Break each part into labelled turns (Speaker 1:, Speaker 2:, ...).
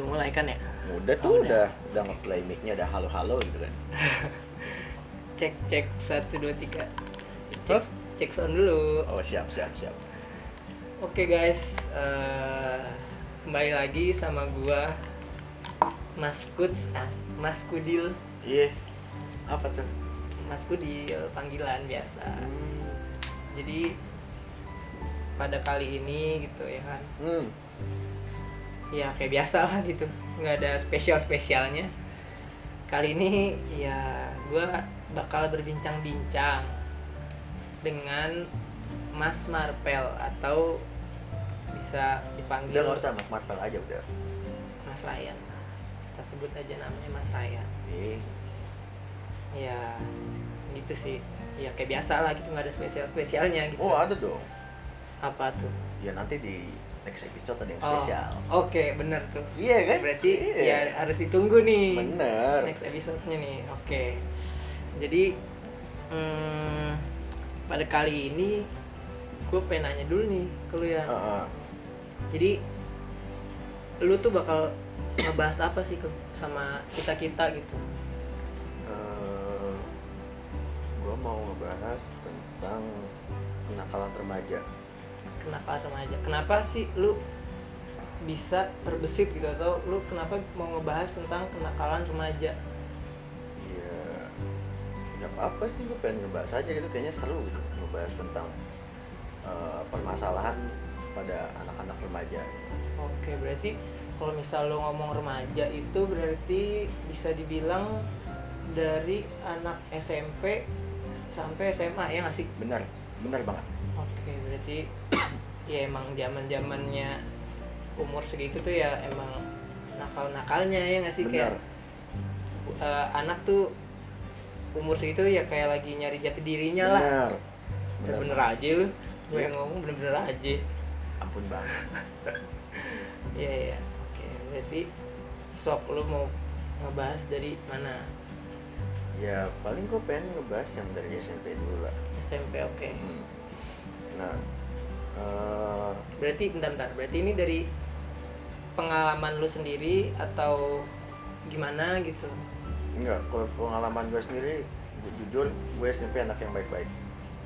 Speaker 1: mulai kan ya
Speaker 2: Udah
Speaker 1: Oh, udah.
Speaker 2: tuh udah udah ngeplay mic-nya udah halo-halo gitu kan.
Speaker 1: cek cek satu dua tiga
Speaker 2: Hah?
Speaker 1: cek cek sound dulu
Speaker 2: Oh, siap siap siap.
Speaker 1: oke guys eh, kembali lagi sama gua Mas Kuds As- Mas Kudil
Speaker 2: Iya. Apa tuh?
Speaker 1: Mas Kudil panggilan biasa jadi pada kali ini gitu ya kan
Speaker 2: Hmm.
Speaker 1: ya kayak biasa lah gitu nggak ada spesial spesialnya kali ini ya gue bakal berbincang-bincang dengan Mas Marpel atau bisa
Speaker 2: Udah
Speaker 1: dipanggil
Speaker 2: nggak usah Mas Marvel aja udah.
Speaker 1: Mas Ryan kita sebut aja namanya Mas Ryan
Speaker 2: Nih.
Speaker 1: ya gitu sih ya kayak biasa lah gitu nggak ada spesial spesialnya gitu
Speaker 2: Oh, ada dong.
Speaker 1: apa tuh
Speaker 2: Ya nanti di next episode ada yang
Speaker 1: Oh,
Speaker 2: spesial.
Speaker 1: oke bener tuh
Speaker 2: Iya kan?
Speaker 1: berarti
Speaker 2: Iya.
Speaker 1: ya harus ditunggu nih
Speaker 2: Bener.
Speaker 1: next episode-nya nih. Oke. Jadi hmm, pada kali ini gue pengen nanya dulu nih ke lu ya.
Speaker 2: Heeh.
Speaker 1: Jadi lu tuh bakal ngebahas apa sih ke sama kita-kita gitu?
Speaker 2: Eh, gua mau ngebahas tentang kenakalan remaja.
Speaker 1: Kenapa remaja? Kenapa sih lu bisa terbesit gitu atau lu kenapa mau ngebahas tentang kenakalan remaja?
Speaker 2: Iya. Gak apa-apa sih gue pengen ngebahas aja gitu kayaknya seru gitu ngebahas tentang eh, permasalahan pada anak-anak remaja.
Speaker 1: Oke, berarti kalau misal lo ngomong remaja itu berarti bisa dibilang dari anak SMP sampai SMA ya nggak sih?
Speaker 2: Benar, benar banget.
Speaker 1: Oke, berarti ya emang zaman zamannya umur segitu tuh ya emang nakal-nakalnya ya nggak sih kayak
Speaker 2: benar.
Speaker 1: eh, anak tuh umur segitu ya kayak lagi nyari jati dirinya lah.
Speaker 2: Benar. Benar. Iya.
Speaker 1: Bener-bener aja lu, gue yang ngomong bener-bener aja.
Speaker 2: Ampun bang.
Speaker 1: Iya iya. Oke, berarti sok lu mau ngebahas dari mana?
Speaker 2: Ya paling gue pengen ngebahas yang dari SMP dulu lah.
Speaker 1: SMP oke.
Speaker 2: Hmm. Nah, eh,
Speaker 1: Berarti bentar bentar. Berarti ini dari pengalaman lu sendiri atau gimana gitu?
Speaker 2: enggak kalau pengalaman gue sendiri gu- jujur gue SMP anak yang baik-baik.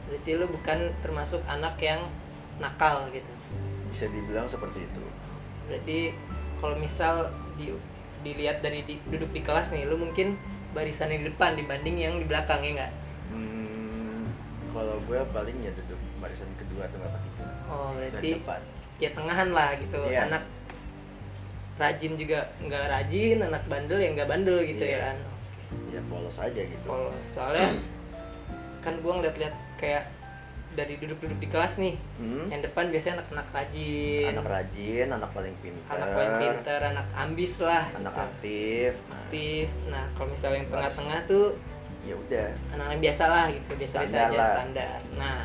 Speaker 1: Berarti lu bukan termasuk anak yang nakal gitu.
Speaker 2: Bisa dibilang seperti itu.
Speaker 1: Berarti kalau misal di- dilihat dari di- duduk di kelas nih, lu mungkin barisan di depan dibanding yang di belakang ya enggak?
Speaker 2: Hmm, kalau gue paling ya duduk barisan kedua atau nggak ketiga
Speaker 1: Oh,
Speaker 2: dari
Speaker 1: berarti
Speaker 2: depan.
Speaker 1: ya tengahan lah gitu
Speaker 2: Iya.
Speaker 1: anak rajin juga nggak rajin anak bandel ya nggak bandel gitu
Speaker 2: Iya.
Speaker 1: ya kan
Speaker 2: Ya polos aja gitu.
Speaker 1: kalau soalnya kan gua ngeliat-liat kayak dari duduk-duduk di kelas nih
Speaker 2: Hmm,
Speaker 1: yang depan biasanya anak-anak rajin
Speaker 2: Anak rajin, anak paling pintar,
Speaker 1: anak paling pintar anak ambis lah
Speaker 2: anak
Speaker 1: gitu.
Speaker 2: aktif. Nah,
Speaker 1: aktif nah kalau misalnya yang
Speaker 2: Baris.
Speaker 1: tengah-tengah tuh
Speaker 2: ya udah,
Speaker 1: anak-anak biasa lah gitu biasa-biasa
Speaker 2: Standar
Speaker 1: aja
Speaker 2: lah.
Speaker 1: standar nah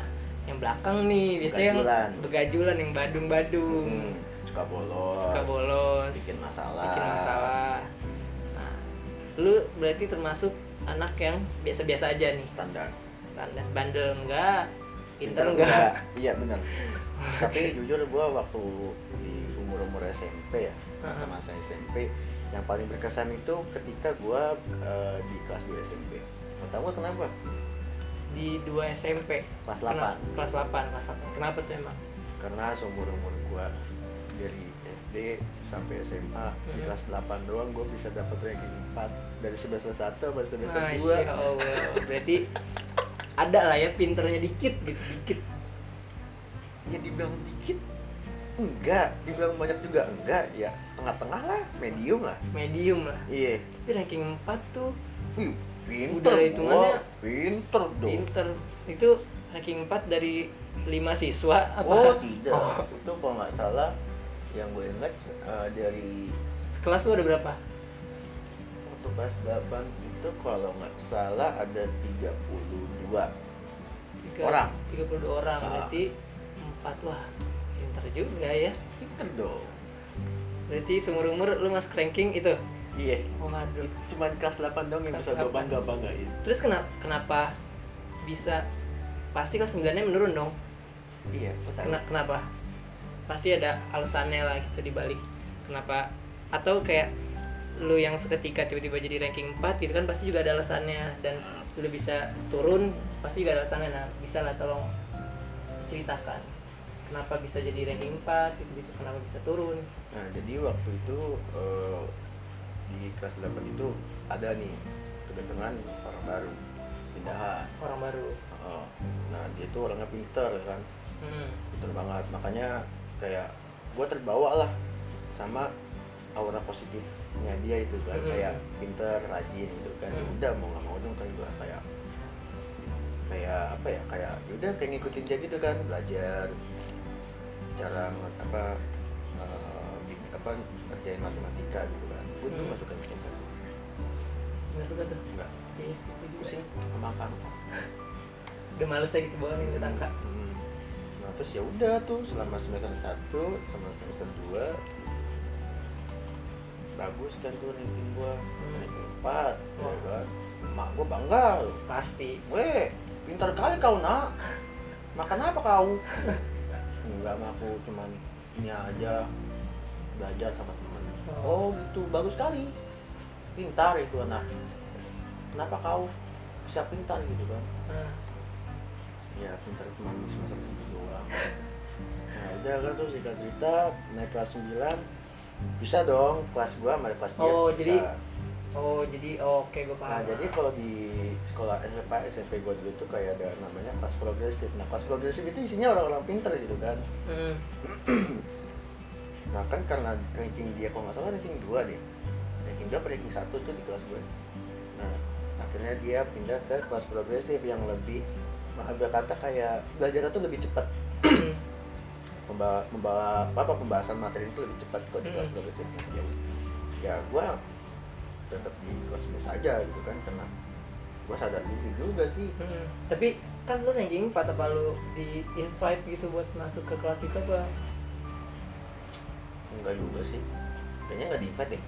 Speaker 1: yang belakang nih biasanya yang
Speaker 2: Begajulan.
Speaker 1: begajulan yang badung-badung
Speaker 2: Hmm, suka bolos,
Speaker 1: suka bolos
Speaker 2: bikin masalah.
Speaker 1: bikin masalah. Nah, lu berarti termasuk anak yang biasa-biasa aja nih,
Speaker 2: Standar.
Speaker 1: standar bandel enggak, pinter
Speaker 2: Pintar
Speaker 1: enggak.
Speaker 2: Iya benar. Tapi jujur gue waktu di umur-umur SMP ya, masa-masa SMP, yang paling berkesan itu ketika gue di kelas 2 SMP. Mau tahu kenapa?
Speaker 1: Di dua SMP,
Speaker 2: Kelas 8.
Speaker 1: Kena- kelas 8, kelas 8. Kenapa tuh emang?
Speaker 2: karena seumur umur gua dari SD sampai SMA di
Speaker 1: Mhm.
Speaker 2: kelas 8 doang gua bisa dapat ranking 4 dari semester 1 sampai semester
Speaker 1: Masya
Speaker 2: 2
Speaker 1: Allah. Berarti ada lah ya pinternya dikit gitu, dikit.
Speaker 2: ya dibilang dikit enggak dibilang banyak juga enggak ya tengah-tengah lah medium lah
Speaker 1: Medium lah.
Speaker 2: iya
Speaker 1: Tapi ranking 4 tuh
Speaker 2: wih
Speaker 1: Udah
Speaker 2: pinter
Speaker 1: lah
Speaker 2: gua
Speaker 1: hitungannya.
Speaker 2: pinter dong
Speaker 1: pinter. Itu ranking 4 dari 5 siswa apa?
Speaker 2: oh tidak
Speaker 1: Oh.
Speaker 2: itu kalau nggak salah yang gue ingat eh, dari
Speaker 1: Kelas lu ada berapa?
Speaker 2: waktu kelas 8 itu kalau nggak salah ada 32
Speaker 1: Tiga-
Speaker 2: Orang.
Speaker 1: 32 orang
Speaker 2: Ah.
Speaker 1: berarti 4 wah pinter juga ya
Speaker 2: pinter dong
Speaker 1: berarti seumur umur lu masuk ranking itu
Speaker 2: iya
Speaker 1: waduh
Speaker 2: cuman kelas 8 dong yang
Speaker 1: Kelas
Speaker 2: bisa gue
Speaker 1: 8.
Speaker 2: bangga banggain
Speaker 1: terus kenapa kenapa bisa pasti kelas 9 nya menurun dong
Speaker 2: iya
Speaker 1: Kena- kenapa pasti ada alasannya lah gitu dibalik kenapa atau kayak lu yang seketika tiba-tiba jadi ranking 4 gitu kan pasti juga ada alasannya dan lu bisa turun pasti juga ada alasannya nah bisa lah tolong ceritakan kenapa bisa jadi ranking 4 itu bisa kenapa bisa turun
Speaker 2: Nah, jadi waktu itu eh, di kelas 8 itu ada nih kedatangan orang baru pindahan.
Speaker 1: orang baru
Speaker 2: Heeh. nah, dia itu orangnya pinter kan,
Speaker 1: hmm.
Speaker 2: pinter banget. Makanya kayak gua terbawa lah sama aura positifnya dia itu kan,
Speaker 1: Mm-mm.
Speaker 2: kayak pinter, rajin gitu kan.
Speaker 1: Mm.
Speaker 2: Udah mau nggak mau dong kan gua kayak kayak apa ya kayak udah kayak ngikutin dia gitu kan belajar jarang apa eh, bi- apa ngerjain matematika gitu kan gue dulu
Speaker 1: Hmm.
Speaker 2: masuk ke matematika
Speaker 1: nggak suka tuh
Speaker 2: enggak
Speaker 1: Iya sih, gua juga.
Speaker 2: pusing sama angka
Speaker 1: udah males ya gitu bohongin ke tangka
Speaker 2: Hmm. nah terus ya udah tuh selama semester 1 sama semester 2 bagus kan tuh ranking gua
Speaker 1: Hmm.
Speaker 2: ranking 4 ya
Speaker 1: Wah.
Speaker 2: kan mak gua bangga loh
Speaker 1: pasti
Speaker 2: Weh, pintar kali kau nak. Makan apa kau? Enggak, Ma. aku cuman ini aja belajar sama temen.
Speaker 1: Oh.
Speaker 2: Oh gitu, bagus sekali. Pintar itu anak. Kenapa kau bisa pintar gitu kan?
Speaker 1: Nah,
Speaker 2: Ya pintar cuma semester itu doang. Nah udah kan terus singkat cerita naik kelas 9 bisa dong kelas gua sama kelas dia
Speaker 1: Oh,
Speaker 2: bisa.
Speaker 1: jadi- oh jadi oke gue
Speaker 2: Nah,
Speaker 1: paham
Speaker 2: jadi kalau di sekolah SMP, SMP gue dulu itu kayak ada namanya kelas progresif. Nah, kelas progresif itu isinya orang-orang pinter gitu kan.
Speaker 1: Hmm.
Speaker 2: Nah, kan karena ranking dia kalau nggak salah ranking 2 deh. Ranking 2 atau ranking 1 tuh di kelas gue. Nah, akhirnya dia pindah ke kelas progresif yang lebih maaf kata kayak belajar tuh lebih cepat
Speaker 1: Hmm.
Speaker 2: membawa, membawa apa pembahasan materi itu lebih cepat kalau di kelas
Speaker 1: Mm.
Speaker 2: progresif ya, ya gue tetap di kelas biasa aja gitu kan karena gue sadar diri juga sih
Speaker 1: Hmm. tapi kan lu ranking 4 apa lu di invite gitu buat masuk ke kelas itu apa
Speaker 2: Enggak juga sih. Kayaknya enggak di-invite deh.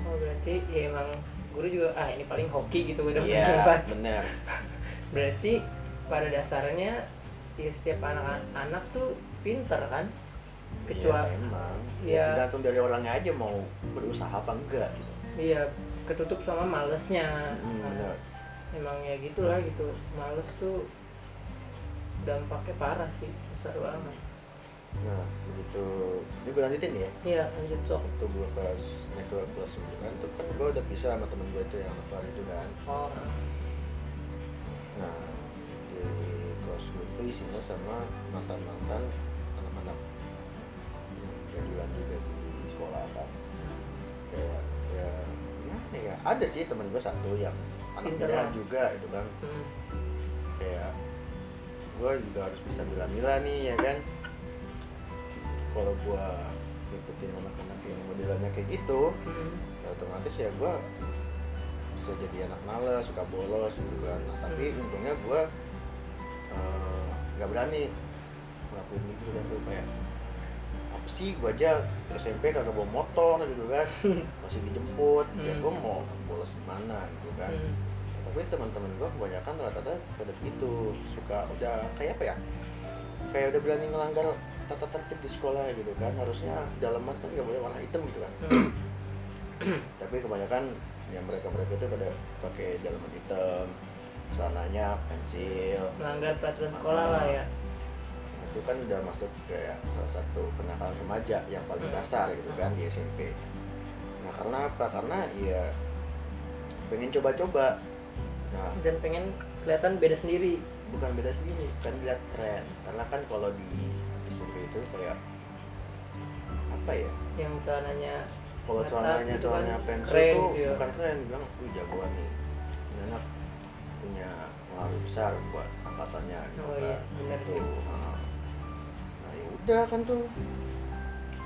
Speaker 1: oh berarti ya emang guru juga ah ini paling hoki gitu udah
Speaker 2: Iya,
Speaker 1: ranking 4
Speaker 2: bener.
Speaker 1: Berarti pada dasarnya ya setiap anak-anak tuh pinter kan? Kecuali
Speaker 2: Iya, emang.
Speaker 1: Iya.
Speaker 2: Ya, tergantung dari orangnya aja mau berusaha apa enggak gitu.
Speaker 1: iya ketutup sama malesnya.
Speaker 2: Hmm,
Speaker 1: Nah,
Speaker 2: bener.
Speaker 1: emang ya gitulah gitu. Males tuh dampaknya parah sih besar banget.
Speaker 2: Nah, begitu. Ini gue lanjutin ya.
Speaker 1: Iya lanjut sok.
Speaker 2: Waktu gue kelas naik ke kelas 9 tuh kan gue udah pisah sama temen gue itu yang keluar itu kan.
Speaker 1: Oh,
Speaker 2: Nah, di kelas gue itu isinya sama mantan-mantan anak-anak yang duluan juga di sekolah kan. Kayak ya gimana ya ada sih temen gue satu yang anak
Speaker 1: Pinter
Speaker 2: muda
Speaker 1: lah.
Speaker 2: juga itu kan
Speaker 1: hmm.
Speaker 2: kayak gue juga harus bisa mila-mila nih ya kan kalau gue ngikutin anak-anak yang modelannya kayak gitu
Speaker 1: Hmm.
Speaker 2: ya otomatis ya gue bisa jadi anak males suka bolos gitu kan Nah, tapi
Speaker 1: Hmm.
Speaker 2: untungnya gue eh, nggak berani ngelakuin gitu kan tuh kayak apa sih gue aja SMP kagak bawa motor gitu kan masih dijemput ya
Speaker 1: Hmm.
Speaker 2: gue mau bolos gimana gitu kan
Speaker 1: Hmm.
Speaker 2: tapi teman-teman gue kebanyakan rata-rata pada begitu suka udah kayak apa ya kayak udah berani ngelanggar tata tertib di sekolah gitu kan harusnya dalaman kan nggak boleh warna hitam gitu kan
Speaker 1: Hmm.
Speaker 2: tapi kebanyakan yang mereka mereka itu pada pakai dalaman hitam celananya pensil
Speaker 1: Melanggar peraturan sekolah lah ya.
Speaker 2: itu kan udah masuk kayak salah satu kenakalan remaja yang paling dasar gitu kan di SMP nah karena apa karena ya pengen coba-coba nah
Speaker 1: Dan pengen kelihatan beda sendiri.
Speaker 2: bukan beda sendiri kan dilihat keren karena kan kalau di SMP itu kayak apa ya
Speaker 1: Yang celananya
Speaker 2: kalau
Speaker 1: Ngetap
Speaker 2: celananya
Speaker 1: gitu
Speaker 2: celana
Speaker 1: kan,
Speaker 2: pensil
Speaker 1: keren
Speaker 2: tuh
Speaker 1: gitu ya.
Speaker 2: bukan keren bilang wih jagoan nih Ini anak punya pengaruh besar buat angkatannya gitu
Speaker 1: Oh
Speaker 2: kan.
Speaker 1: iya, benar
Speaker 2: Gitu.
Speaker 1: sih.
Speaker 2: Nah, nah ya udah kan tuh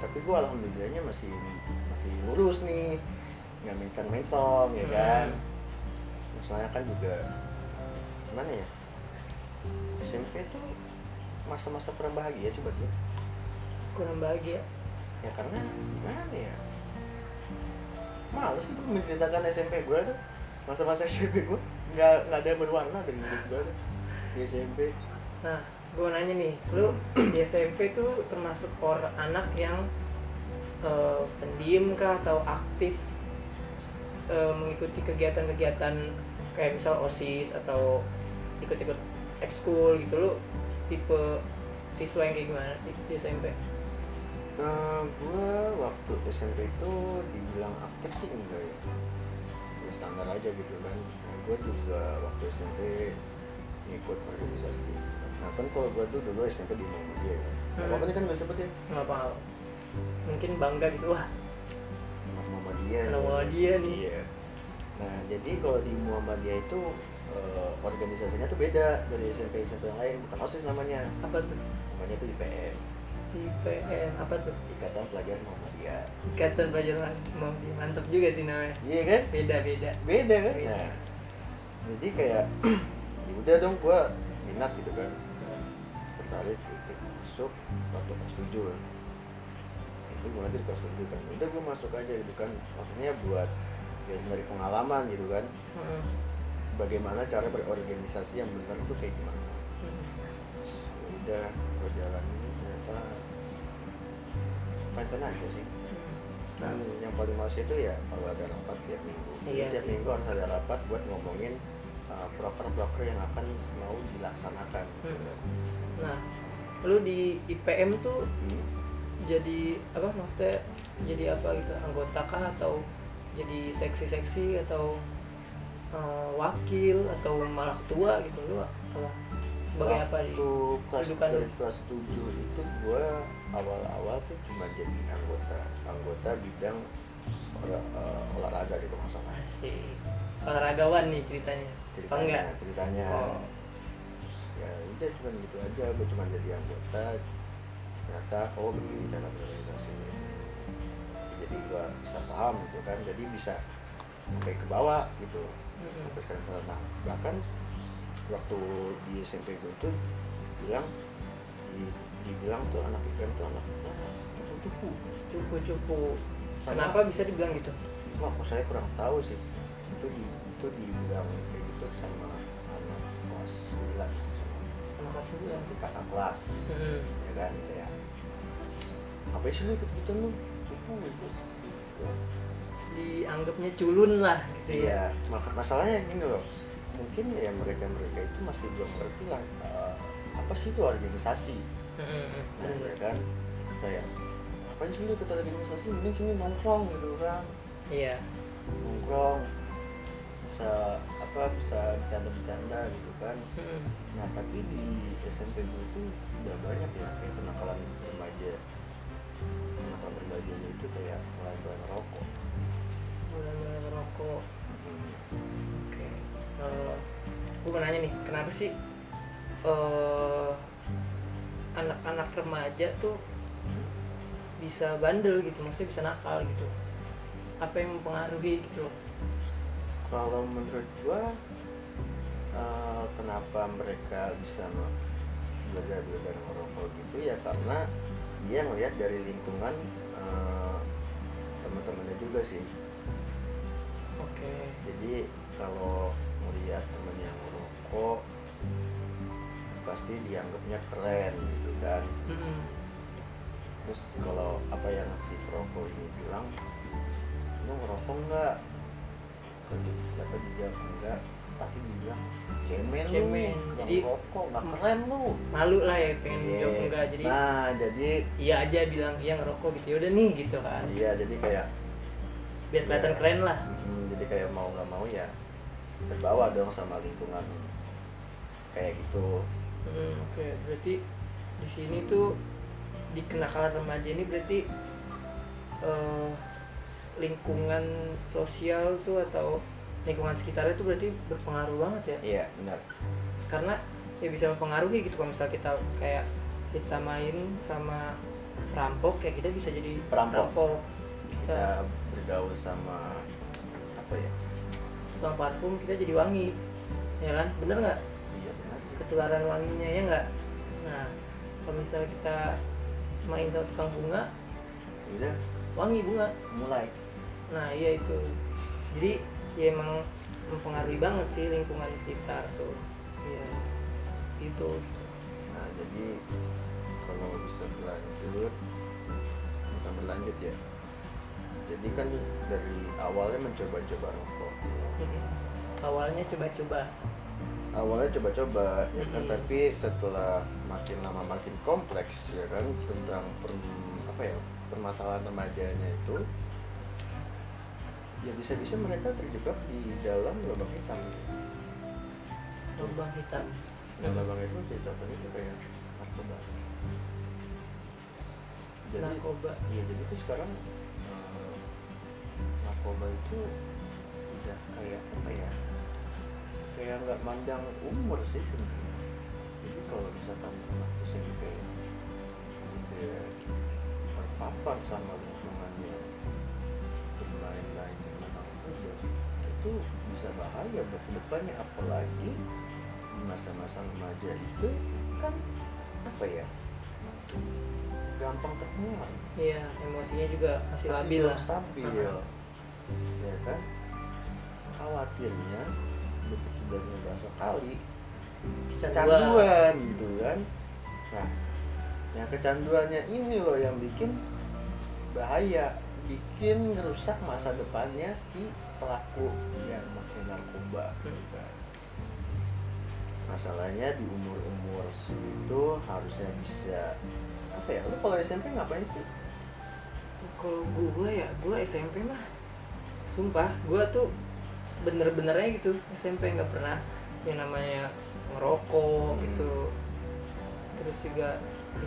Speaker 2: tapi gua alhamdulillahnya masih masih lurus nih nggak mencang mencong ya
Speaker 1: Hmm.
Speaker 2: kan soalnya kan juga gimana ya SMP itu masa-masa kurang bahagia sih buat gue
Speaker 1: kurang bahagia.
Speaker 2: ya karena gimana ya males sih gue menceritakan SMP gue tuh masa-masa SMP gue nggak nggak ada yang berwarna dari hidup gue tuh di SMP
Speaker 1: Nah, gue nanya nih, lu di SMP tuh termasuk orang anak yang eh, pendiam kah atau aktif eh, mengikuti kegiatan-kegiatan kayak misal osis atau ikut-ikut ekskul gitu lo tipe siswa yang kayak gimana sih di SMP?
Speaker 2: Nah, gue waktu SMP itu dibilang aktif sih enggak ya ya standar aja gitu kan nah, gue juga waktu SMP ikut organisasi nah kan kalau gue tuh dulu SMP di Muhammadiyah ya
Speaker 1: Hmm.
Speaker 2: apa apa kan gak sebut ya
Speaker 1: Kenapa? Mungkin bangga gitu wah
Speaker 2: anak Muhammadiyah
Speaker 1: Anak Muhammadiyah nih.
Speaker 2: iya nah jadi kalau di Muhammadiyah itu eh, organisasinya tuh beda dari SMP SMP yang lain bukan osis namanya
Speaker 1: apa tuh
Speaker 2: namanya itu IPM
Speaker 1: IPM apa tuh
Speaker 2: Ikatan Pelajar Muhammadiyah
Speaker 1: Ikatan Pelajar Muhammadiyah mantap juga sih namanya
Speaker 2: iya kan
Speaker 1: beda beda
Speaker 2: beda kan
Speaker 1: Beda.
Speaker 2: Nah, jadi kayak ya udah dong gua minat gitu kan tertarik ikut masuk waktu kelas tujuh itu gua nanti di kelas tujuh kan udah gua masuk aja gitu kan maksudnya buat biar nyari pengalaman gitu kan
Speaker 1: Heeh.
Speaker 2: bagaimana cara berorganisasi yang benar itu kayak gimana Terus ya udah gua jalan ini ternyata fine aja sih Nah, yang paling males itu ya kalau ada rapat tiap minggu. Jadi
Speaker 1: Iya
Speaker 2: tiap
Speaker 1: sih.
Speaker 2: minggu harus ada rapat buat ngomongin uh, proker-proker yang akan mau dilaksanakan. gitu kan.
Speaker 1: Nah, lu di IPM tuh
Speaker 2: Hmm.
Speaker 1: jadi apa maksudnya jadi apa gitu anggota kah atau jadi seksi-seksi atau eh, wakil atau malah ketua gitu lu apa sebagai apa di
Speaker 2: Nah, Waktu kelas
Speaker 1: kehidupan
Speaker 2: dari kelas 7 itu gua awal-awal tuh cuma jadi anggota anggota bidang olah- uh, olahraga gitu nggak salah.
Speaker 1: si olahragawan nih ceritanya apa
Speaker 2: Ceritanya,
Speaker 1: enggak
Speaker 2: ceritanya
Speaker 1: Oh.
Speaker 2: ya udah cuma gitu aja. Gua cuma jadi anggota. Ternyata oh begini cara berorganisasi. Jadi gua bisa paham gitu kan. Jadi bisa sampai ke bawah gitu.
Speaker 1: Mm-mm.
Speaker 2: sampai sekarang sekarang. Nah, bahkan waktu di SMP gue itu bilang di- dibilang tuh anak IPM tuh anak cupu-cupu
Speaker 1: cupu-cupu
Speaker 2: Sama-
Speaker 1: kenapa bisa dibilang gitu
Speaker 2: itu aku saya kurang tahu sih itu di, itu dibilang kayak gitu sama anak kelas 9 sama
Speaker 1: sama kelas sembilan.
Speaker 2: di kakak kelas
Speaker 1: Mm-mm.
Speaker 2: ya kan kayak apa sih lu ikut-ikutan lu cupu gitu Ya,
Speaker 1: dianggapnya culun lah gitu ya
Speaker 2: Iya, maka masalahnya gini loh. Mungkin ya mereka-mereka itu masih belum ngerti lah eh, apa sih itu organisasi,
Speaker 1: Mm-mm.
Speaker 2: nah, ya kan? Kayak ngapain sih lu ikut organisasi? Mending sini nongkrong gitu kan,
Speaker 1: iya
Speaker 2: nongkrong bisa apa bisa bercanda-bercanda gitu kan.
Speaker 1: Mm-mm.
Speaker 2: Nah tapi di SMP gue itu udah banyak ya kayak kenakalan remaja, kenakalan remajanya itu kayak mulai-mulai merokok.
Speaker 1: mulai-mulai merokok Oke. Eh, gue mau nanya nih, kenapa sih eh, anak-anak remaja tuh bisa bandel gitu, maksudnya bisa nakal gitu? Apa yang mempengaruhi gitu loh?
Speaker 2: kalau menurut gua eh, kenapa mereka bisa me- belajar-belajar ngerokok gitu ya karena dia ngelihat dari lingkungan eh, teman-temannya juga sih
Speaker 1: Oke.
Speaker 2: jadi kalau melihat temen yang ngerokok pasti dianggapnya keren gitu kan
Speaker 1: Mm-mm.
Speaker 2: terus kalau apa yang si perokok ini bilang lu ngerokok nggak kalau di- dapat dijawab enggak pasti dibilang cemen,
Speaker 1: Cemen.
Speaker 2: lu jadi
Speaker 1: Jadi-
Speaker 2: rokok nggak keren lu
Speaker 1: Malu lah ya pengen
Speaker 2: Iya.
Speaker 1: jawab enggak, jadi
Speaker 2: nah jadi
Speaker 1: iya aja bilang iya ngerokok gitu, yaudah nih gitu kan,
Speaker 2: iya jadi kayak
Speaker 1: biar kelihatan
Speaker 2: Iya.
Speaker 1: keren lah.
Speaker 2: mm, jadi kayak mau nggak mau ya terbawa dong sama lingkungan kayak gitu
Speaker 1: Hmm, Oke, berarti di sini tuh di kenakalan remaja ini berarti eh, lingkungan sosial tuh atau lingkungan sekitarnya tuh berarti berpengaruh banget ya.
Speaker 2: iya benar
Speaker 1: Karena ya bisa mempengaruhi gitu kalau misal kita kayak kita main sama perampok ya kita bisa jadi
Speaker 2: Perampok.
Speaker 1: Kita
Speaker 2: kita bergaul sama apa ya
Speaker 1: tukang parfum kita jadi wangi. Ya kan? Bener nggak?
Speaker 2: iya benar sih
Speaker 1: ketularan wanginya ya nggak nah kalau misalnya kita main sama tukang bunga
Speaker 2: udah
Speaker 1: wangi bunga
Speaker 2: mulai
Speaker 1: nah iya itu jadi ya emang mempengaruhi banget sih lingkungan sekitar tuh iya itu
Speaker 2: Nah, jadi kalau bisa berlanjut, pertama berlanjut ya jadi kan dari awalnya mencoba-coba rokok
Speaker 1: awalnya coba-coba
Speaker 2: awalnya coba-coba ya kan
Speaker 1: Mm-mm.
Speaker 2: tapi setelah makin lama makin kompleks ya kan tentang per- apa ya permasalahan remajanya itu ya bisa-bisa mereka terjebak di dalam lubang hitam
Speaker 1: lubang hitam
Speaker 2: dan lubang itu terjebak ya. itu kayak narkoba jadi
Speaker 1: narkoba
Speaker 2: iya jadi tuh sekarang eh, narkoba itu udah kayak apa ya kayak nggak mandang umur sih sebenarnya jadi kalau misalkan anak SMP dia terpapar sama lingkungan yang bermain-main dengan narkoba itu bisa bahaya buat kedepannya apalagi di masa-masa remaja itu kan apa ya gampang terpengaruh
Speaker 1: iya emosinya juga masih labil
Speaker 2: belum
Speaker 1: lah
Speaker 2: stabil
Speaker 1: Heeh.
Speaker 2: ya kan khawatirnya begitu dari bahasa kali kecanduan gitu kan nah yang kecanduannya ini loh yang bikin bahaya bikin ngerusak masa depannya si pelaku yang masih narkoba gitu
Speaker 1: Mm.
Speaker 2: kan. masalahnya di umur umur segitu harusnya bisa apa ya lu kalau SMP ngapain sih
Speaker 1: kalau gue ya gue SMP mah sumpah gue tuh bener-benernya gitu SMP nggak pernah yang namanya ngerokok
Speaker 2: Hmm.
Speaker 1: gitu terus juga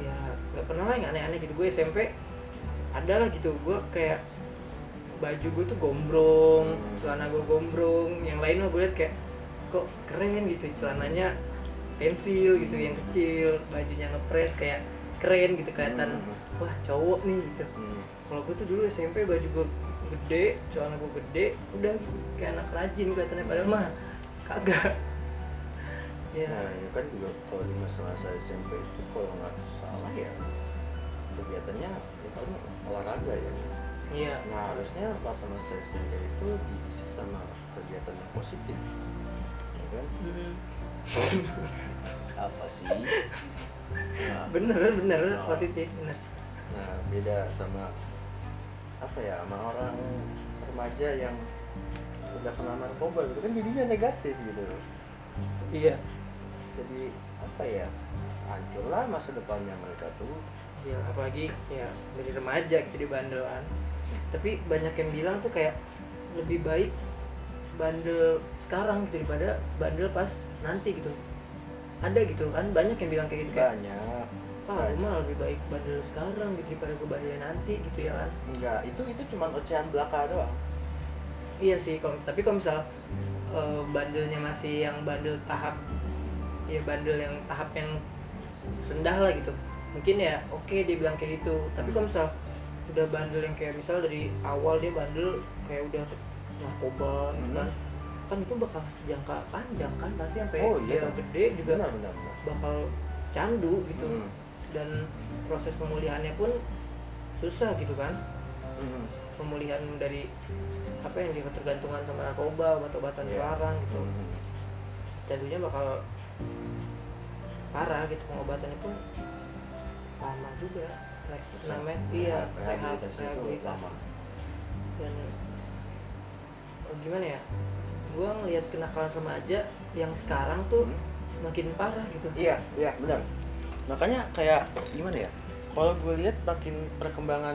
Speaker 1: ya nggak pernah lah yang aneh-aneh gitu gue SMP adalah gitu gue kayak baju gue tuh gombrong
Speaker 2: Hmm.
Speaker 1: celana gue gombrong yang lain mah gue liat kayak kok keren gitu celananya pensil gitu yang kecil bajunya ngepres kayak keren gitu kelihatan wah cowok nih gitu
Speaker 2: Hmm.
Speaker 1: kalau gue tuh dulu SMP baju gue gede celana gue gede udah kayak anak rajin kelihatannya padahal mah kagak ya
Speaker 2: Nah, ya kan juga kalau di masa-masa SMP itu kalau nggak salah ya kegiatannya ya paling olahraga ya.
Speaker 1: iya
Speaker 2: Nah harusnya masa-masa SMP itu diisi sama kegiatan yang positif, ya kan?
Speaker 1: Mm.
Speaker 2: Apa sih? Nah,
Speaker 1: bener bener
Speaker 2: Oh.
Speaker 1: positif bener
Speaker 2: nah, beda sama apa ya sama orang remaja yang udah kena narkoba gitu kan jadinya negatif gitu loh.
Speaker 1: iya
Speaker 2: Jadi apa ya? Hancurlah masa depannya mereka tuh.
Speaker 1: iya apalagi ya dari remaja gitu di bandelan tapi banyak yang bilang tuh kayak lebih baik bandel sekarang gitu daripada bandel pas nanti gitu ada gitu kan banyak yang bilang kayak gitu kayak
Speaker 2: Banyak
Speaker 1: ah gue mah lebih baik bandel sekarang gitu daripada gue bandel nanti gitu ya kan
Speaker 2: Enggak, itu itu cuma ocehan belaka doang.
Speaker 1: Iya sih, kalau- tapi kalau misal eh, bandelnya masih yang bandel tahap ya bandel yang tahap yang rendah lah gitu. Mungkin ya oke dia bilang kayak gitu. Tapi kalau misal udah bandel yang kayak misal dari awal dia bandel kayak udah narkoba gitu kan. Kan itu bakal jangka panjang kan pasti sampai
Speaker 2: Hmm. Oh, iya.
Speaker 1: dia gede juga
Speaker 2: Benar benar benar.
Speaker 1: bakal candu gitu.
Speaker 2: Gitu.
Speaker 1: Dan proses pemulihannya pun susah gitu kan
Speaker 2: Mm-hmm.
Speaker 1: pemulihan dari apa yang dia ketergantungan sama narkoba obat-obatan
Speaker 2: Iya.
Speaker 1: dilarang gitu
Speaker 2: Hmm.
Speaker 1: jadinya bakal parah gitu pengobatannya pun lama juga Re- namanya iya rehab
Speaker 2: rehabilitasi itu
Speaker 1: rehabilitas
Speaker 2: lama.
Speaker 1: dan oh, gimana ya gua ngelihat kenakalan remaja yang sekarang tuh
Speaker 2: Hmm.
Speaker 1: makin parah gitu
Speaker 2: Iya, iya benar. Makanya kayak gimana ya? Kalau gue lihat makin perkembangan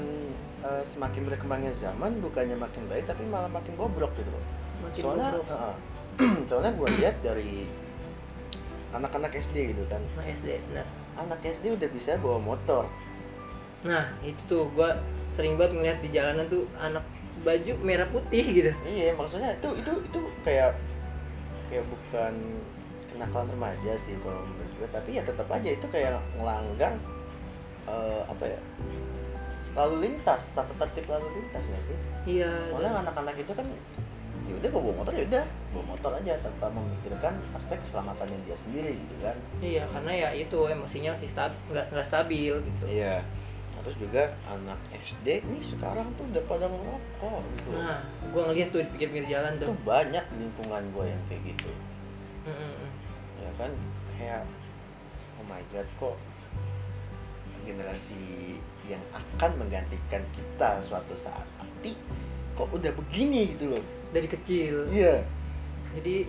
Speaker 2: eh, semakin berkembangnya zaman bukannya makin baik tapi malah makin bobrok gitu loh.
Speaker 1: makin
Speaker 2: Soalnya uh,
Speaker 1: bobrok.
Speaker 2: heeh. soalnya gue lihat dari anak-anak SD gitu kan.
Speaker 1: Nah, SD benar
Speaker 2: Anak SD udah bisa bawa motor.
Speaker 1: nah itu tuh gua sering banget ngeliat di jalanan tuh anak baju merah putih gitu
Speaker 2: Iya, maksudnya itu itu itu kayak kayak bukan kenakalan remaja sih kalau menurut gue, tapi ya tetap aja itu kayak ngelanggar eh, apa ya? lalu lintas, tata tertib lalu lintas nggak sih?
Speaker 1: iya dan-
Speaker 2: Soalnya anak-anak itu kan ya udah gua bawa motor ya udah bawa motor aja tanpa memikirkan aspek keselamatannya dia sendiri gitu kan.
Speaker 1: Iya, karena ya itu emosinya masih stab, nggak nggak stabil gitu.
Speaker 2: Iya. Terus juga anak SD nih sekarang tuh udah pada ngerokok gitu.
Speaker 1: Nah, gua ngeliat tuh di pinggir-pinggir jalan
Speaker 2: Itu
Speaker 1: tuh.
Speaker 2: banyak di lingkungan gue yang kayak gitu.
Speaker 1: Mm, mm, mm.
Speaker 2: ya kan kayak oh my god kok generasi yang akan menggantikan kita suatu saat nanti kok udah begini gitu loh
Speaker 1: dari kecil
Speaker 2: iya
Speaker 1: jadi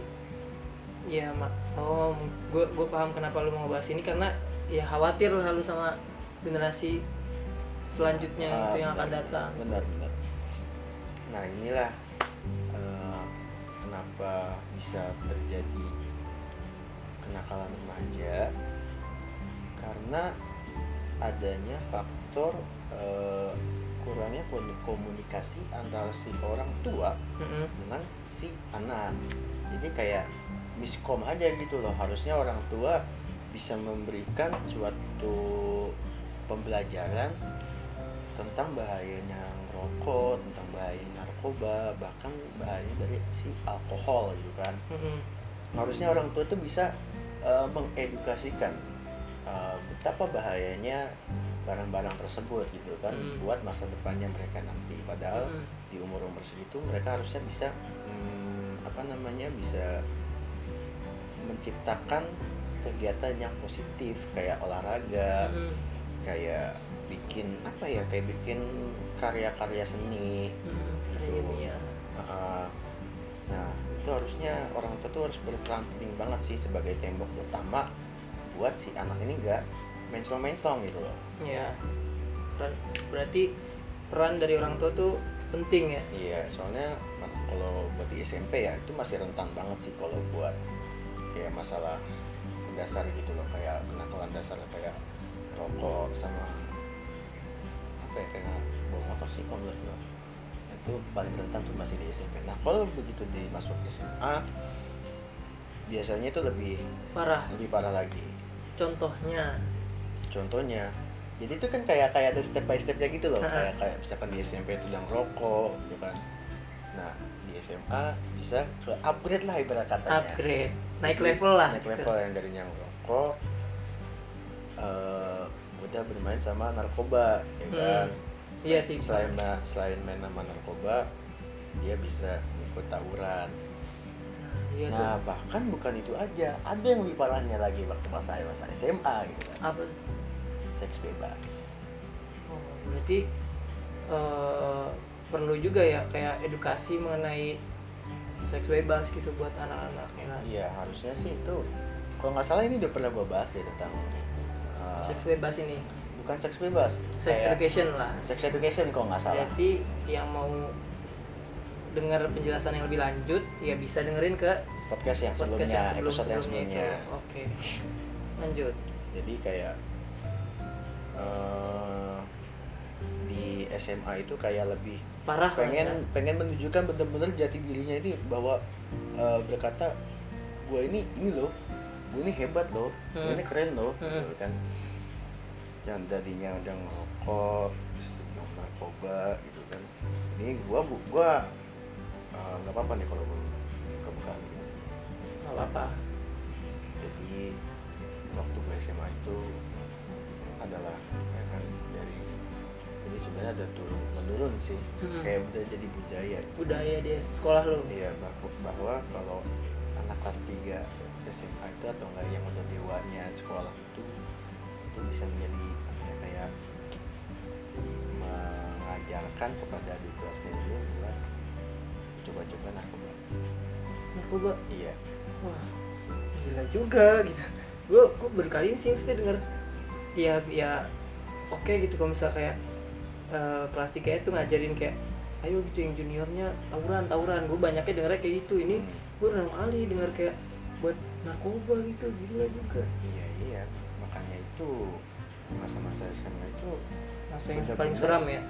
Speaker 1: ya mak oh gue gue paham kenapa lu mau bahas ini karena ya khawatir lah lu sama generasi selanjutnya
Speaker 2: Ah,
Speaker 1: itu yang akan
Speaker 2: benar,
Speaker 1: datang
Speaker 2: benar benar nah inilah eh, kenapa bisa terjadi kenakalan remaja karena adanya faktor eh, kurangnya kon- komunikasi antara si orang tua
Speaker 1: Mm-mm.
Speaker 2: dengan si anak jadi kayak miskom aja gitu loh harusnya orang tua bisa memberikan suatu pembelajaran tentang bahayanya rokok tentang bahaya narkoba bahkan bahaya dari si alkohol gitu kan
Speaker 1: Mm-mm.
Speaker 2: harusnya orang tua tuh bisa eh, mengedukasikan eh, betapa bahayanya barang-barang tersebut gitu kan
Speaker 1: Hmm.
Speaker 2: buat masa depannya mereka nanti padahal
Speaker 1: Mm-mm.
Speaker 2: di umur-umur segitu mereka harusnya bisa hmm, apa namanya bisa menciptakan kegiatan yang positif kayak olahraga
Speaker 1: Mm-mm.
Speaker 2: kayak bikin apa ya kayak bikin karya-karya seni
Speaker 1: Mm-mm. Karya ilmiah.
Speaker 2: Uh, nah itu harusnya orang tua tuh harus berperan penting banget sih sebagai tembok utama buat si anak ini nggak mencong-mencong gitu loh
Speaker 1: ya peran, berarti peran dari orang tua tuh penting ya
Speaker 2: Iya, soalnya ma- kalau buat di SMP ya itu masih rentan banget sih kalau buat kayak masalah dasar gitu loh kayak kenakalan dasar kayak rokok sama apa ya kayak bawa motor sih kalau menurut gue. itu paling rentan tuh masih di SMP. Nah kalau begitu dimasuk SMA biasanya itu lebih
Speaker 1: parah
Speaker 2: lebih parah lagi.
Speaker 1: contohnya
Speaker 2: Contohnya jadi itu kan kayak kayak ada step by stepnya gitu loh
Speaker 1: Ha-ha.
Speaker 2: kayak kayak misalkan di SMP itu yang rokok gitu kan nah di SMA bisa ke upgrade lah ibarat katanya
Speaker 1: upgrade naik level lah gitu.
Speaker 2: naik level yang dari yang rokok eh, udah bermain sama narkoba ya
Speaker 1: Hmm.
Speaker 2: kan
Speaker 1: Iya sih.
Speaker 2: selain ma- selain main sama narkoba dia bisa ikut tawuran
Speaker 1: iya tuh
Speaker 2: nah bahkan bukan itu aja ada yang lebih parahnya lagi waktu masa masa SMA gitu kan
Speaker 1: apa
Speaker 2: seks bebas
Speaker 1: oh, berarti eh, perlu juga ya kayak edukasi mengenai seks bebas gitu buat anak-anak ya kan?
Speaker 2: Iya harusnya sih itu kalau nggak salah ini udah pernah gue bahas deh tentang uh,
Speaker 1: seks bebas ini
Speaker 2: bukan seks bebas
Speaker 1: sex
Speaker 2: kayak
Speaker 1: education Iya, lah
Speaker 2: sex education kalau nggak salah
Speaker 1: berarti yang mau dengar penjelasan yang lebih lanjut ya bisa dengerin ke
Speaker 2: podcast yang sebelumnya
Speaker 1: podcast yang sebelum
Speaker 2: episode yang sebelumnya
Speaker 1: sebelumnya itu oke lanjut
Speaker 2: jadi kayak uh, di SMA itu kayak lebih
Speaker 1: parah lah
Speaker 2: pengen
Speaker 1: ya.
Speaker 2: pengen menunjukkan bener-bener jati dirinya ini bahwa uh, berkata gue ini ini loh gue ini hebat loh gue
Speaker 1: Hmm.
Speaker 2: ini keren loh
Speaker 1: Hmm.
Speaker 2: gitu kan yang tadinya udah ngerokok terus minum narkoba gitu kan ini gue bu gue uh, nggak apa-apa nih kalau gue kebukaan gitu.
Speaker 1: nggak apa-apa
Speaker 2: jadi waktu gue SMA itu adalah ya kan dari jadi sebenarnya ada turun menurun sih
Speaker 1: Hmm.
Speaker 2: kayak udah jadi budaya
Speaker 1: budaya di ya, sekolah lo
Speaker 2: Iya bahwa, bahwa kalau anak kelas 3 SMA itu atau enggak yang udah dewanya sekolah itu itu bisa menjadi apa ya, kayak mengajarkan kepada adik kelasnya dulu buat coba-coba narkoba.
Speaker 1: narkoba
Speaker 2: Iya.
Speaker 1: wah gila juga gitu gue gue berkali ini sih mesti denger ya ya oke gitu kalau misal kayak eh kelas 3 itu ngajarin kayak ayo gitu yang juniornya tawuran tawuran gue banyaknya dengernya kayak gitu ini
Speaker 2: Hmm.
Speaker 1: gue enam kali denger kayak buat narkoba gitu gila juga
Speaker 2: Iya iya makanya itu masa-masa SMA itu
Speaker 1: masa yang
Speaker 2: Bener-bener.
Speaker 1: paling seram ya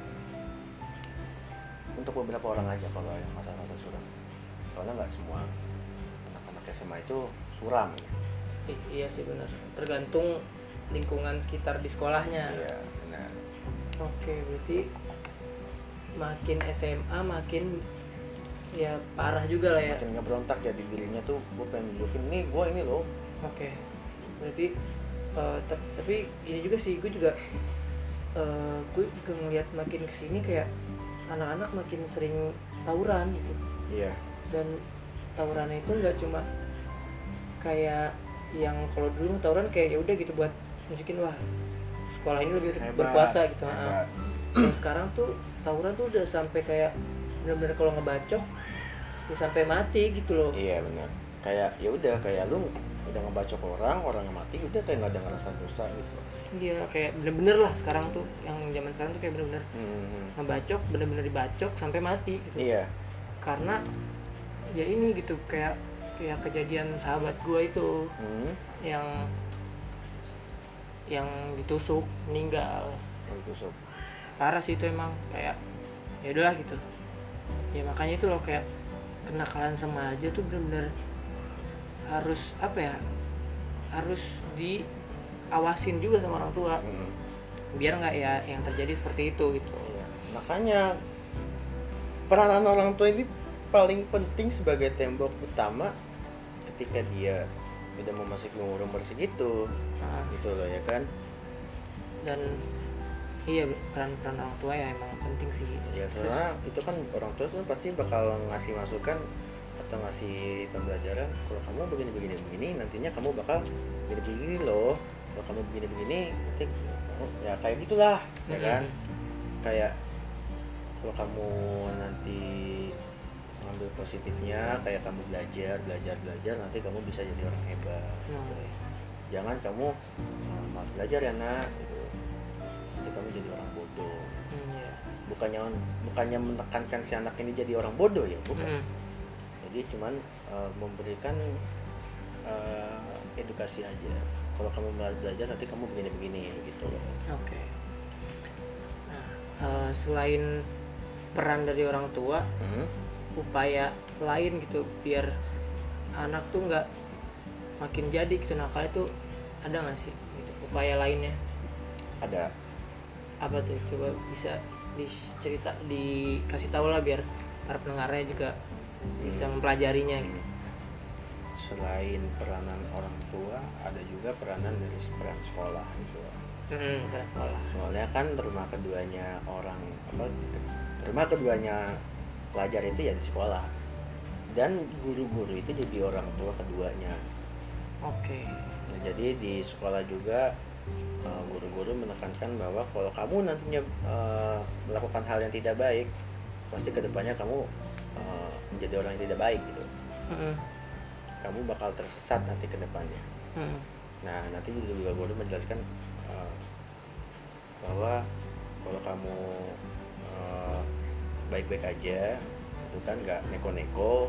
Speaker 2: untuk beberapa orang aja kalau yang masa-masa suram. Soalnya nggak semua anak-anak SMA itu suram. ya.
Speaker 1: I- iya sih benar tergantung lingkungan sekitar di sekolahnya
Speaker 2: Iya benar.
Speaker 1: Oke, berarti makin SMA makin ya parah juga lah ya.
Speaker 2: makin ngebrontak ya di dirinya tuh gue pengen nunjukin nih gue ini loh
Speaker 1: Oke, berarti eh, tep- tapi gini juga sih, gue juga eh, gue juga ngeliat makin kesini kayak anak-anak makin sering tawuran gitu
Speaker 2: iya
Speaker 1: dan tawurannya itu nggak cuma kayak yang kalau dulu tawuran kayak ya udah gitu buat nunjukin wah sekolah ini lebih
Speaker 3: Hebat.
Speaker 1: berkuasa gitu ha.
Speaker 3: Hebat.
Speaker 1: Kalau sekarang tuh tawuran tuh udah sampai kayak bener-bener kalau ngebacok ya sampai mati gitu loh
Speaker 2: Iya benar. Kayak ya udah kayak lu udah ngebacok orang, orang mati udah kayak nggak ada ngerasa dosa gitu.
Speaker 1: iya kayak bener-bener lah sekarang tuh yang zaman sekarang tuh kayak bener-bener
Speaker 2: Hmm.
Speaker 1: ngebacok bener-bener dibacok sampai mati gitu
Speaker 2: Iya.
Speaker 1: karena ya ini gitu kayak kayak kejadian sahabat gua itu
Speaker 2: Hmm.
Speaker 1: yang yang ditusuk meninggal
Speaker 2: Itu Gitu, sob.
Speaker 1: parah sih itu emang kayak ya udahlah gitu ya makanya itu loh kayak kenakalan remaja tuh bener-bener harus apa ya harus diawasin juga sama orang tua
Speaker 2: Hmm.
Speaker 1: biar nggak ya yang terjadi seperti itu gitu
Speaker 2: Iya. Makanya peranan orang tua ini paling penting sebagai tembok utama ketika dia udah memasuki umur-umur segitu
Speaker 1: Nah,
Speaker 2: gitu loh ya kan
Speaker 1: dan iya peran-peran orang tua ya emang penting sih
Speaker 2: ya karena itu kan orang tua tuh pasti bakal ngasih masukan atau ngasih pembelajaran kalau kamu begini begini begini nantinya kamu bakal begini begini loh kalau kamu begini begini nanti kamu- ya kayak gitulah ya
Speaker 1: Mm-mm.
Speaker 2: kan kayak kalau kamu nanti ngambil positifnya kayak kamu belajar belajar belajar nanti kamu bisa jadi orang hebat
Speaker 1: Nah,
Speaker 2: jangan kamu eh, malas belajar ya nak gitu nanti kamu jadi orang bodoh
Speaker 1: mm, iya.
Speaker 2: bukannya bukannya menekankan si anak ini jadi orang bodoh ya bukan
Speaker 1: Mm.
Speaker 2: jadi cuman eh, memberikan eh, edukasi aja kalau kamu malas belajar nanti kamu begini-begini gitu loh
Speaker 1: Oke. Nah, eh, selain peran dari orang tua,
Speaker 2: Hmm.
Speaker 1: upaya lain gitu biar anak tuh nggak makin jadi gitu nakal itu ada nggak sih gitu, upaya lainnya?
Speaker 2: ada
Speaker 1: Apa tuh? Coba bisa dicerita, dikasih tahu lah biar para pendengarnya juga bisa mempelajarinya. Gitu.
Speaker 2: Hmm. selain peranan orang tua ada juga peranan dari peran sekolah gitu loh.
Speaker 1: Hmm, peran sekolah.
Speaker 2: soalnya kan rumah keduanya orang apa rumah keduanya pelajar itu ya di sekolah dan guru-guru itu jadi orang tua keduanya
Speaker 1: Oke.
Speaker 2: Nah, jadi di sekolah juga eh, guru-guru menekankan bahwa kalau kamu nantinya eh, melakukan hal yang tidak baik, pasti kedepannya kamu eh, menjadi orang yang tidak baik gitu.
Speaker 1: Mm-mm.
Speaker 2: Kamu bakal tersesat nanti kedepannya.
Speaker 1: Mm-mm.
Speaker 2: Nah nanti juga guru menjelaskan eh, bahwa kalau kamu eh, baik-baik aja, itu kan nggak neko-neko,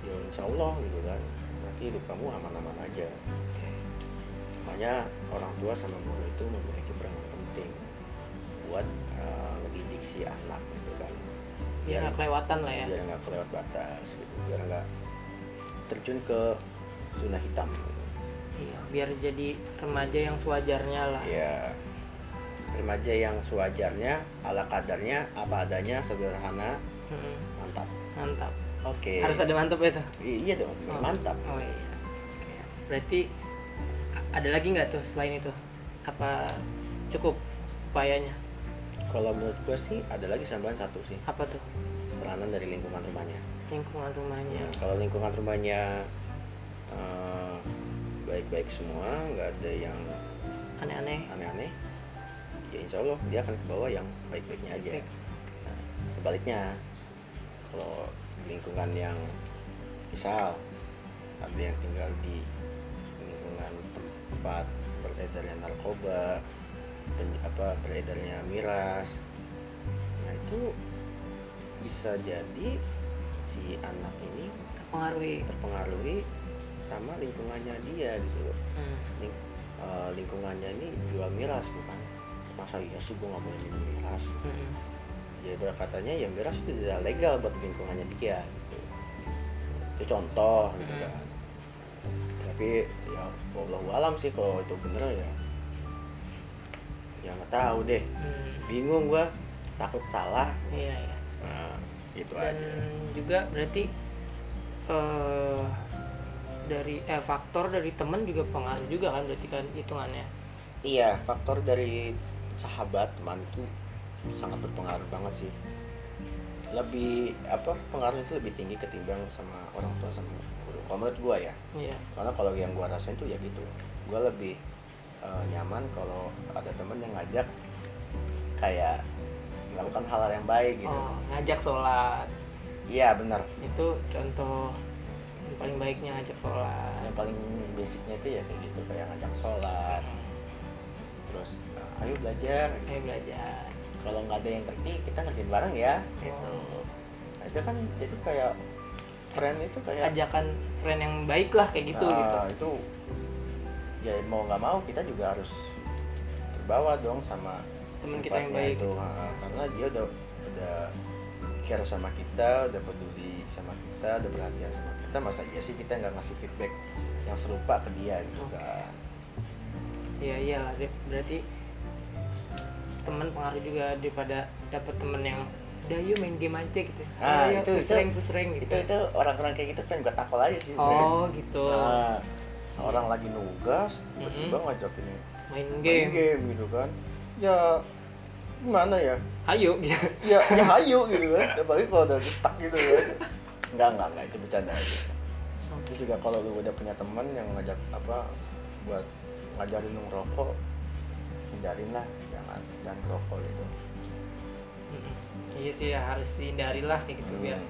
Speaker 2: ya insya Allah gitu kan, nanti hidup kamu aman-aman aja.
Speaker 1: Oke.
Speaker 2: Makanya orang tua sama guru itu memiliki peran yang penting buat eh, mendidik si anak gitu kan.
Speaker 1: Biar nggak kelewatan lah ya.
Speaker 2: biar nggak kelewat batas gitu, biar nggak terjun ke zona hitam. gitu.
Speaker 1: Iya, biar jadi remaja yang sewajarnya lah.
Speaker 2: Ya remaja yang sewajarnya, ala kadarnya, apa adanya, sederhana,
Speaker 1: Mm-mm.
Speaker 2: mantap.
Speaker 1: Hmm, Mantap.
Speaker 2: Oke.
Speaker 1: Harus ada mantap itu.
Speaker 2: I- iya dong,
Speaker 1: Oh.
Speaker 2: mantap.
Speaker 1: Oh iya. Oke. Berarti a- ada lagi nggak tuh selain itu? Apa cukup upayanya?
Speaker 2: Kalau menurut gue sih ada lagi tambahan satu sih
Speaker 1: Apa tuh
Speaker 2: peranan dari lingkungan rumahnya.
Speaker 1: lingkungan rumahnya?
Speaker 2: Ya, kalau lingkungan rumahnya eh, baik-baik semua, nggak ada yang
Speaker 1: Aneh-aneh.
Speaker 2: aneh-aneh, ya insya Allah dia akan ke bawah yang baik-baiknya aja.
Speaker 1: Baik.
Speaker 2: Nah, sebaliknya, kalau lingkungan yang misal ada yang tinggal di lingkungan tempat beredarnya narkoba, pen- apa beredarnya miras, nah itu bisa jadi si anak ini
Speaker 1: Terpengaruhi.
Speaker 2: terpengaruhi sama lingkungannya dia gitu loh.
Speaker 1: Hmm.
Speaker 2: Eh, lingkungannya ini jual miras bukan masa iya sih gue nggak boleh minum miras
Speaker 1: Mm-mm.
Speaker 2: ya berkatanya ya miras itu tidak legal buat lingkungannya dia gitu itu contoh gitu
Speaker 1: Hmm.
Speaker 2: kan tapi ya Allah alam sih kalau itu bener ya ya nggak tahu deh
Speaker 1: Hmm.
Speaker 2: bingung gua takut salah
Speaker 1: Iya, iya.
Speaker 2: nah itu
Speaker 1: Dan
Speaker 2: aja
Speaker 1: juga berarti eh dari eh, faktor dari temen juga pengaruh juga kan berarti kan hitungannya.
Speaker 2: Iya, faktor dari sahabat, teman itu sangat berpengaruh banget sih. Lebih apa pengaruhnya itu lebih tinggi ketimbang sama orang tua sama guru. Kalau menurut gua ya,
Speaker 1: Iya.
Speaker 2: karena kalau yang gua rasain tuh ya gitu. Gua lebih eh, nyaman kalau ada temen yang ngajak kayak melakukan hal-hal yang baik gitu
Speaker 1: Oh, ngajak sholat
Speaker 2: iya benar
Speaker 1: itu contoh yang paling baiknya ngajak sholat.
Speaker 2: yang paling basicnya itu ya kayak gitu kayak ngajak sholat terus eh, ayo belajar
Speaker 1: Ayo belajar.
Speaker 2: kalau nggak ada yang ngerti kita ngerjain bareng ya
Speaker 1: Gitu.
Speaker 2: Nah, itu kan jadi kayak friend itu kayak
Speaker 1: Ajakan friend yang baik lah kayak gitu
Speaker 2: Nah,
Speaker 1: gitu.
Speaker 2: itu ya mau nggak mau kita juga harus terbawa dong sama
Speaker 1: Temen kita yang
Speaker 2: sifatnya
Speaker 1: baik
Speaker 2: itu. Ah, karena dia udah udah care sama kita udah peduli sama kita udah perhatian sama kita masa iya sih kita nggak ngasih feedback yang serupa ke dia gitu
Speaker 1: Oke.
Speaker 2: kan
Speaker 1: Iya iyalah Dep. berarti teman pengaruh juga daripada dapat temen yang udah yuk main game aja gitu.
Speaker 2: Ah,
Speaker 1: Ayo,
Speaker 2: itu- itu-
Speaker 1: push rank, push rank
Speaker 2: itu
Speaker 1: gitu.
Speaker 2: itu orang-orang kayak gitu pengen gue tapel aja sih Bre.
Speaker 1: Oh gitu.
Speaker 2: Nah, orang lagi nugas tiba-tiba
Speaker 1: Mm-mm.
Speaker 2: ngajakin
Speaker 1: main
Speaker 2: main
Speaker 1: Mm-hmm. game.
Speaker 2: game gitu kan ya gimana ya
Speaker 1: Ayo gitu.
Speaker 2: ya ya hayu gitu kan tapi kalau udah stuck gitu kan enggak enggak enggak itu bercanda aja terus juga kalau lu udah punya teman yang ngajak apa buat ngajarin lu ngerokok hindarin lah jangan jangan ngerokok gitu
Speaker 1: Mm-mm. Iya sih ya, harus dihindari lah kayak gitu biar
Speaker 2: Hmm.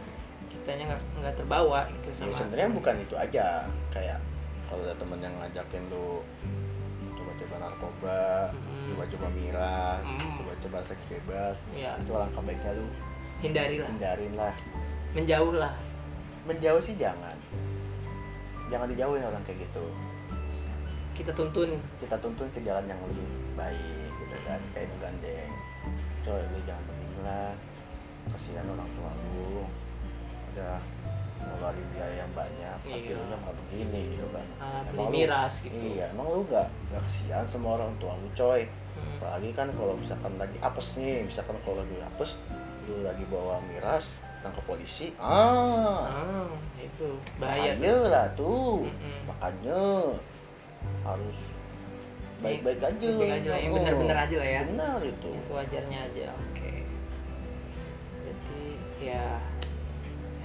Speaker 1: kitanya nggak nggak terbawa gitu
Speaker 2: Ya,
Speaker 1: sama.
Speaker 2: sebenarnya bukan itu aja kayak kalau ada temen yang ngajakin lu coba-coba narkoba
Speaker 1: Mm-mm.
Speaker 2: coba-coba miras
Speaker 1: Mm.
Speaker 2: coba-coba seks bebas
Speaker 1: Iya,
Speaker 2: itu langkah baiknya lu
Speaker 1: hindari lah,
Speaker 2: hindarin lah
Speaker 1: menjauh lah.
Speaker 2: menjauh sih jangan jangan dijauhin orang kayak gitu
Speaker 1: Kita tuntun.
Speaker 2: kita tuntun ke jalan yang lebih baik gitu kan kayak menggandeng coy lu jangan begini lah kasihan orang tua lu udah ngeluarin biaya yang banyak tapi
Speaker 1: Iya.
Speaker 2: lu nggak begini gitu kan
Speaker 1: Ah, beli
Speaker 2: Emang lu-
Speaker 1: miras gitu.
Speaker 2: iya emang lu nggak nggak kasihan sama orang tua lu coy
Speaker 1: Mm.
Speaker 2: apalagi kan kalau misalkan lagi apes nih misalkan kalau lagi apes lu lagi bawa miras tangkap polisi ah
Speaker 1: Ah, itu bahaya. tuh. Hmm.
Speaker 2: bahaya lah tuh
Speaker 1: Mm-mm.
Speaker 2: makanya harus baik-baik aja
Speaker 1: Baik Iya. aja lah, yang benar-benar aja lah ya.
Speaker 2: benar itu
Speaker 1: Yang sewajarnya aja. Oke. Berarti ya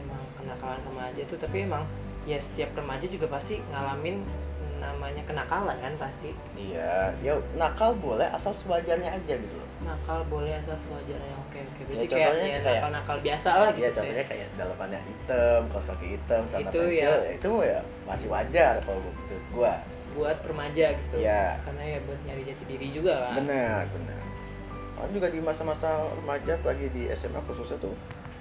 Speaker 1: emang kenakalan remaja tuh tapi emang ya setiap remaja juga pasti ngalamin namanya kenakalan kan pasti
Speaker 2: iya ya nakal boleh asal sewajarnya aja gitu loh
Speaker 1: nakal boleh asal sewajarnya oke oke berarti
Speaker 2: Ya,
Speaker 1: kayak
Speaker 2: contohnya
Speaker 1: ya,
Speaker 2: kayak-
Speaker 1: nakal nakal biasa lah gitu
Speaker 2: Iya
Speaker 1: ya.
Speaker 2: contohnya kayak dalamannya hitam, kaos kaki hitam, celana
Speaker 1: Itu
Speaker 2: pensil,
Speaker 1: ya.
Speaker 2: ya itu ya masih wajar kalau menurut gua.
Speaker 1: buat remaja gitu
Speaker 2: Iya,
Speaker 1: karena ya buat nyari jati diri juga kan
Speaker 2: benar benar. Orang juga di masa-masa remaja lagi di SMA khususnya tuh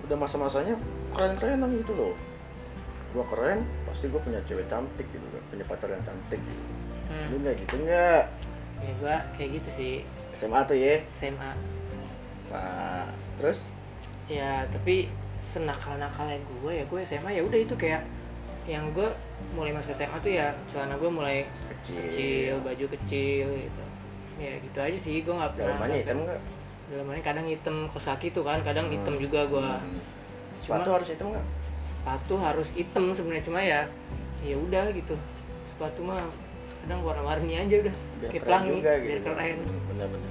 Speaker 2: udah masa-masanya keren-kerenan gitu loh. Gua keren, pasti gua punya cewek cantik gitu kan, punya pacar yang cantik gitu.
Speaker 1: Hmm.
Speaker 2: Lu nggak gitu nggak?
Speaker 1: ya gua kayak gitu sih
Speaker 2: SMA tuh ya.
Speaker 1: SMA
Speaker 2: Nah, terus
Speaker 1: ya tapi senakal nakalnya gue ya gue SMA ya udah itu kayak yang gue mulai masuk SMA tuh ya celana gue mulai
Speaker 2: kecil. Iya.
Speaker 1: kecil baju kecil gitu ya gitu aja sih gue nggak pernah
Speaker 2: Dalamannya
Speaker 1: sampai-
Speaker 2: hitam nggak?
Speaker 1: dalamannya kadang hitam kos kaki tuh kan kadang hitam
Speaker 2: Hmm.
Speaker 1: juga gue
Speaker 2: Hmm. Sepatu harus hitam nggak?
Speaker 1: sepatu harus hitam sebenarnya cuma ya ya udah gitu sepatu mah kadang warna-warni aja udah
Speaker 2: Biar
Speaker 1: kayak
Speaker 2: keren
Speaker 1: pelangi
Speaker 2: juga gitu.
Speaker 1: biar keren
Speaker 2: Hmm, Benar-benar.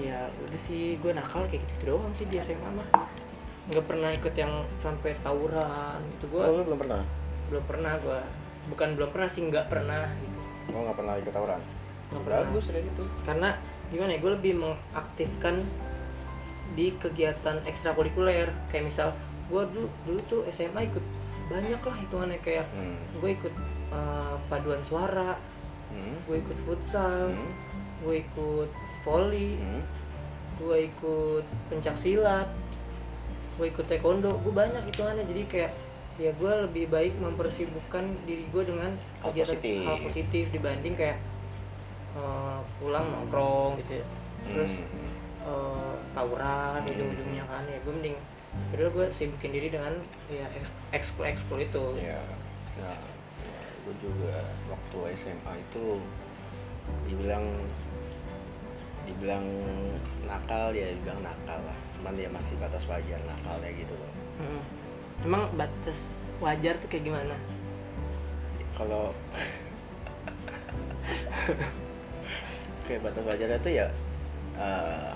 Speaker 1: ya udah sih gue nakal kayak gitu, doang sih di SMA mah nggak pernah ikut yang sampai tawuran gitu gue
Speaker 2: Oh, lu belum pernah?
Speaker 1: belum pernah gue bukan belum pernah sih nggak pernah gitu
Speaker 2: Oh, nggak pernah ikut tawuran?
Speaker 1: Nggak pernah.
Speaker 2: Bagus deh gitu.
Speaker 1: karena gimana ya gue lebih mengaktifkan di kegiatan ekstrakurikuler kayak misal gue dulu dulu tuh SMA ikut banyak lah hitungannya kayak
Speaker 2: Hmm.
Speaker 1: gue ikut eh, paduan suara
Speaker 2: Hmm.
Speaker 1: gue ikut futsal
Speaker 2: Hmm.
Speaker 1: gue ikut volley
Speaker 2: Hmm.
Speaker 1: gue ikut pencak silat gue ikut taekwondo gue banyak hitungannya jadi kayak ya gue lebih baik mempersibukkan diri gue dengan
Speaker 2: Hal
Speaker 1: kegiatan
Speaker 2: positif.
Speaker 1: hal positif dibanding kayak eh, pulang nongkrong gitu ya terus
Speaker 2: Hmm.
Speaker 1: eh, tawuran
Speaker 2: Hmm.
Speaker 1: ujung-ujungnya kan ya gue mending padahal gue sibukin diri dengan ya eks- ekskul ekskul itu
Speaker 2: Ya, nah, ya, gue juga waktu SMA itu dibilang dibilang nakal ya dibilang nakal lah cuman dia masih batas wajar nakalnya gitu loh
Speaker 1: Mm. emang batas wajar tuh kayak gimana
Speaker 2: kalau kayak batas wajarnya tuh ya eh,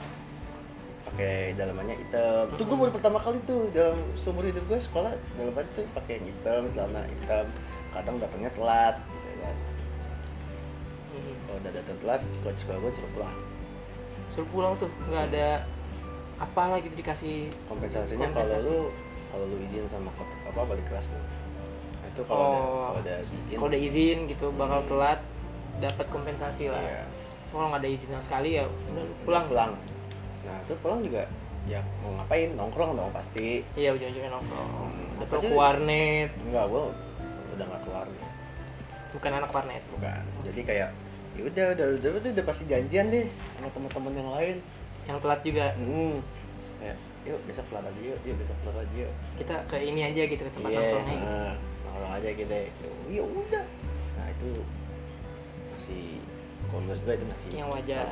Speaker 2: pakai dalamannya hitam itu gue baru pertama kali tuh dalam seumur hidup gue sekolah dalaman tuh pakai yang hitam celana hitam kadang datangnya telat gitu kan
Speaker 1: Mm.
Speaker 2: Eh, kalau udah datang telat coach sekolah gue suruh pulang
Speaker 1: suruh pulang tuh nggak ada apalah gitu dikasih
Speaker 2: kompensasinya kalau
Speaker 1: Kompensasi.
Speaker 2: lu kalau lu izin sama kot- apa balik kelas lu Nah, itu kalau
Speaker 1: Oh.
Speaker 2: udah kalau udah izin
Speaker 1: kalau udah izin gitu bakal
Speaker 2: Hmm.
Speaker 1: telat dapat kompensasi lah
Speaker 2: iya,
Speaker 1: kalau nggak ada izin sama sekali ya udah lu pulang
Speaker 2: pulang nah itu pulang juga ya mau ngapain nongkrong dong pasti
Speaker 1: iya ujung-ujungnya nongkrong
Speaker 2: Hmm,
Speaker 1: atau
Speaker 2: pasti-
Speaker 1: ke warnet
Speaker 2: enggak gua udah nggak keluar nih
Speaker 1: bukan anak warnet
Speaker 2: bukan jadi kayak ya udah udah udah udah, udah pasti janjian deh sama teman-teman yang lain
Speaker 1: yang telat juga
Speaker 2: hmm. kayak yuk besok keluar lagi yuk yuk besok keluar lagi yuk
Speaker 1: kita ke ini aja gitu ke tempat
Speaker 2: Iya,
Speaker 1: nongkrongnya gitu.
Speaker 2: nah, nongkrong aja kita. Ya udah. Nah itu masih kalau menurut gue itu masih
Speaker 1: Yang wajar.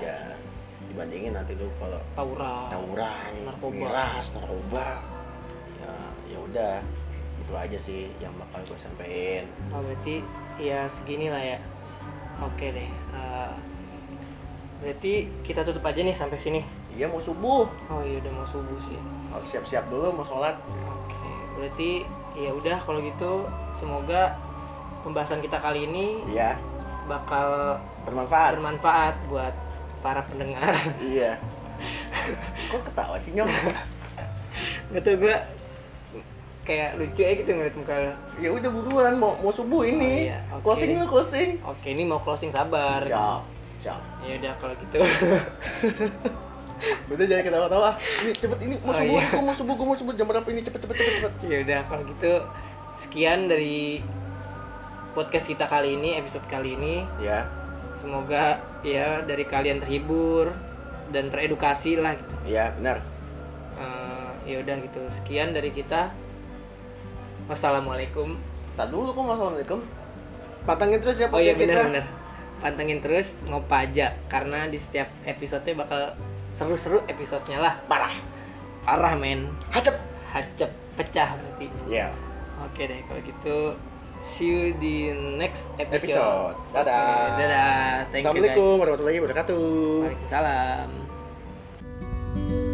Speaker 2: Dibandingin nanti lu kalau
Speaker 1: tawuran
Speaker 2: tawuran,
Speaker 1: narkoba.
Speaker 2: miras, narkoba, ya ya udah itu aja sih yang bakal gue sampein.
Speaker 1: Oh, berarti ya segini lah ya. Oke deh. eh, berarti kita tutup aja nih sampai sini.
Speaker 2: Iya mau subuh,
Speaker 1: Oh iya udah mau subuh sih.
Speaker 2: harus siap-siap dulu mau sholat.
Speaker 1: Oke. Berarti ya udah kalau gitu semoga pembahasan kita kali ini
Speaker 2: Iya,
Speaker 1: bakal
Speaker 2: bermanfaat.
Speaker 1: bermanfaat buat para pendengar.
Speaker 2: iya. Kok ketawa sih nyong?
Speaker 1: Gak tau gue Gitu, kayak lucu ya gitu ngeliat muka lo.
Speaker 2: ya udah buruan mau mau subuh ini.
Speaker 1: iya, oke.
Speaker 2: Closing lu closing.
Speaker 1: Oke ini mau closing sabar.
Speaker 2: Siap, siap.
Speaker 1: Ya udah kalau gitu.
Speaker 2: Udah jangan ketawa-tawa. Ini cepet ini mau
Speaker 1: Oh,
Speaker 2: subuh,
Speaker 1: iya.
Speaker 2: gua mau subuh, gua mau subuh jam berapa ini cepet cepet cepet cepet.
Speaker 1: Ya udah kalau gitu sekian dari podcast kita kali ini, episode kali ini.
Speaker 2: Ya,
Speaker 1: Semoga ya dari kalian terhibur dan teredukasi lah gitu.
Speaker 2: ya benar.
Speaker 1: Eh, ya udah gitu. Sekian dari kita. Wassalamualaikum.
Speaker 2: Tak dulu kok assalamualaikum. Patangin terus ya
Speaker 1: Oh iya
Speaker 2: podcast kita.
Speaker 1: benar benar. Pantengin terus ngopa aja karena di setiap episode bakal seru-seru episodenya lah.
Speaker 2: Parah.
Speaker 1: Arah men.
Speaker 2: Hacep.
Speaker 1: Hacep pecah berarti.
Speaker 2: Ya.
Speaker 1: Oke deh kalau gitu see you di next episode.
Speaker 2: Episode. Dadah.
Speaker 1: Oke, dadah. Thank you guys.
Speaker 2: Assalamualaikum warahmatullahi wabarakatuh.
Speaker 1: Waalaikumsalam.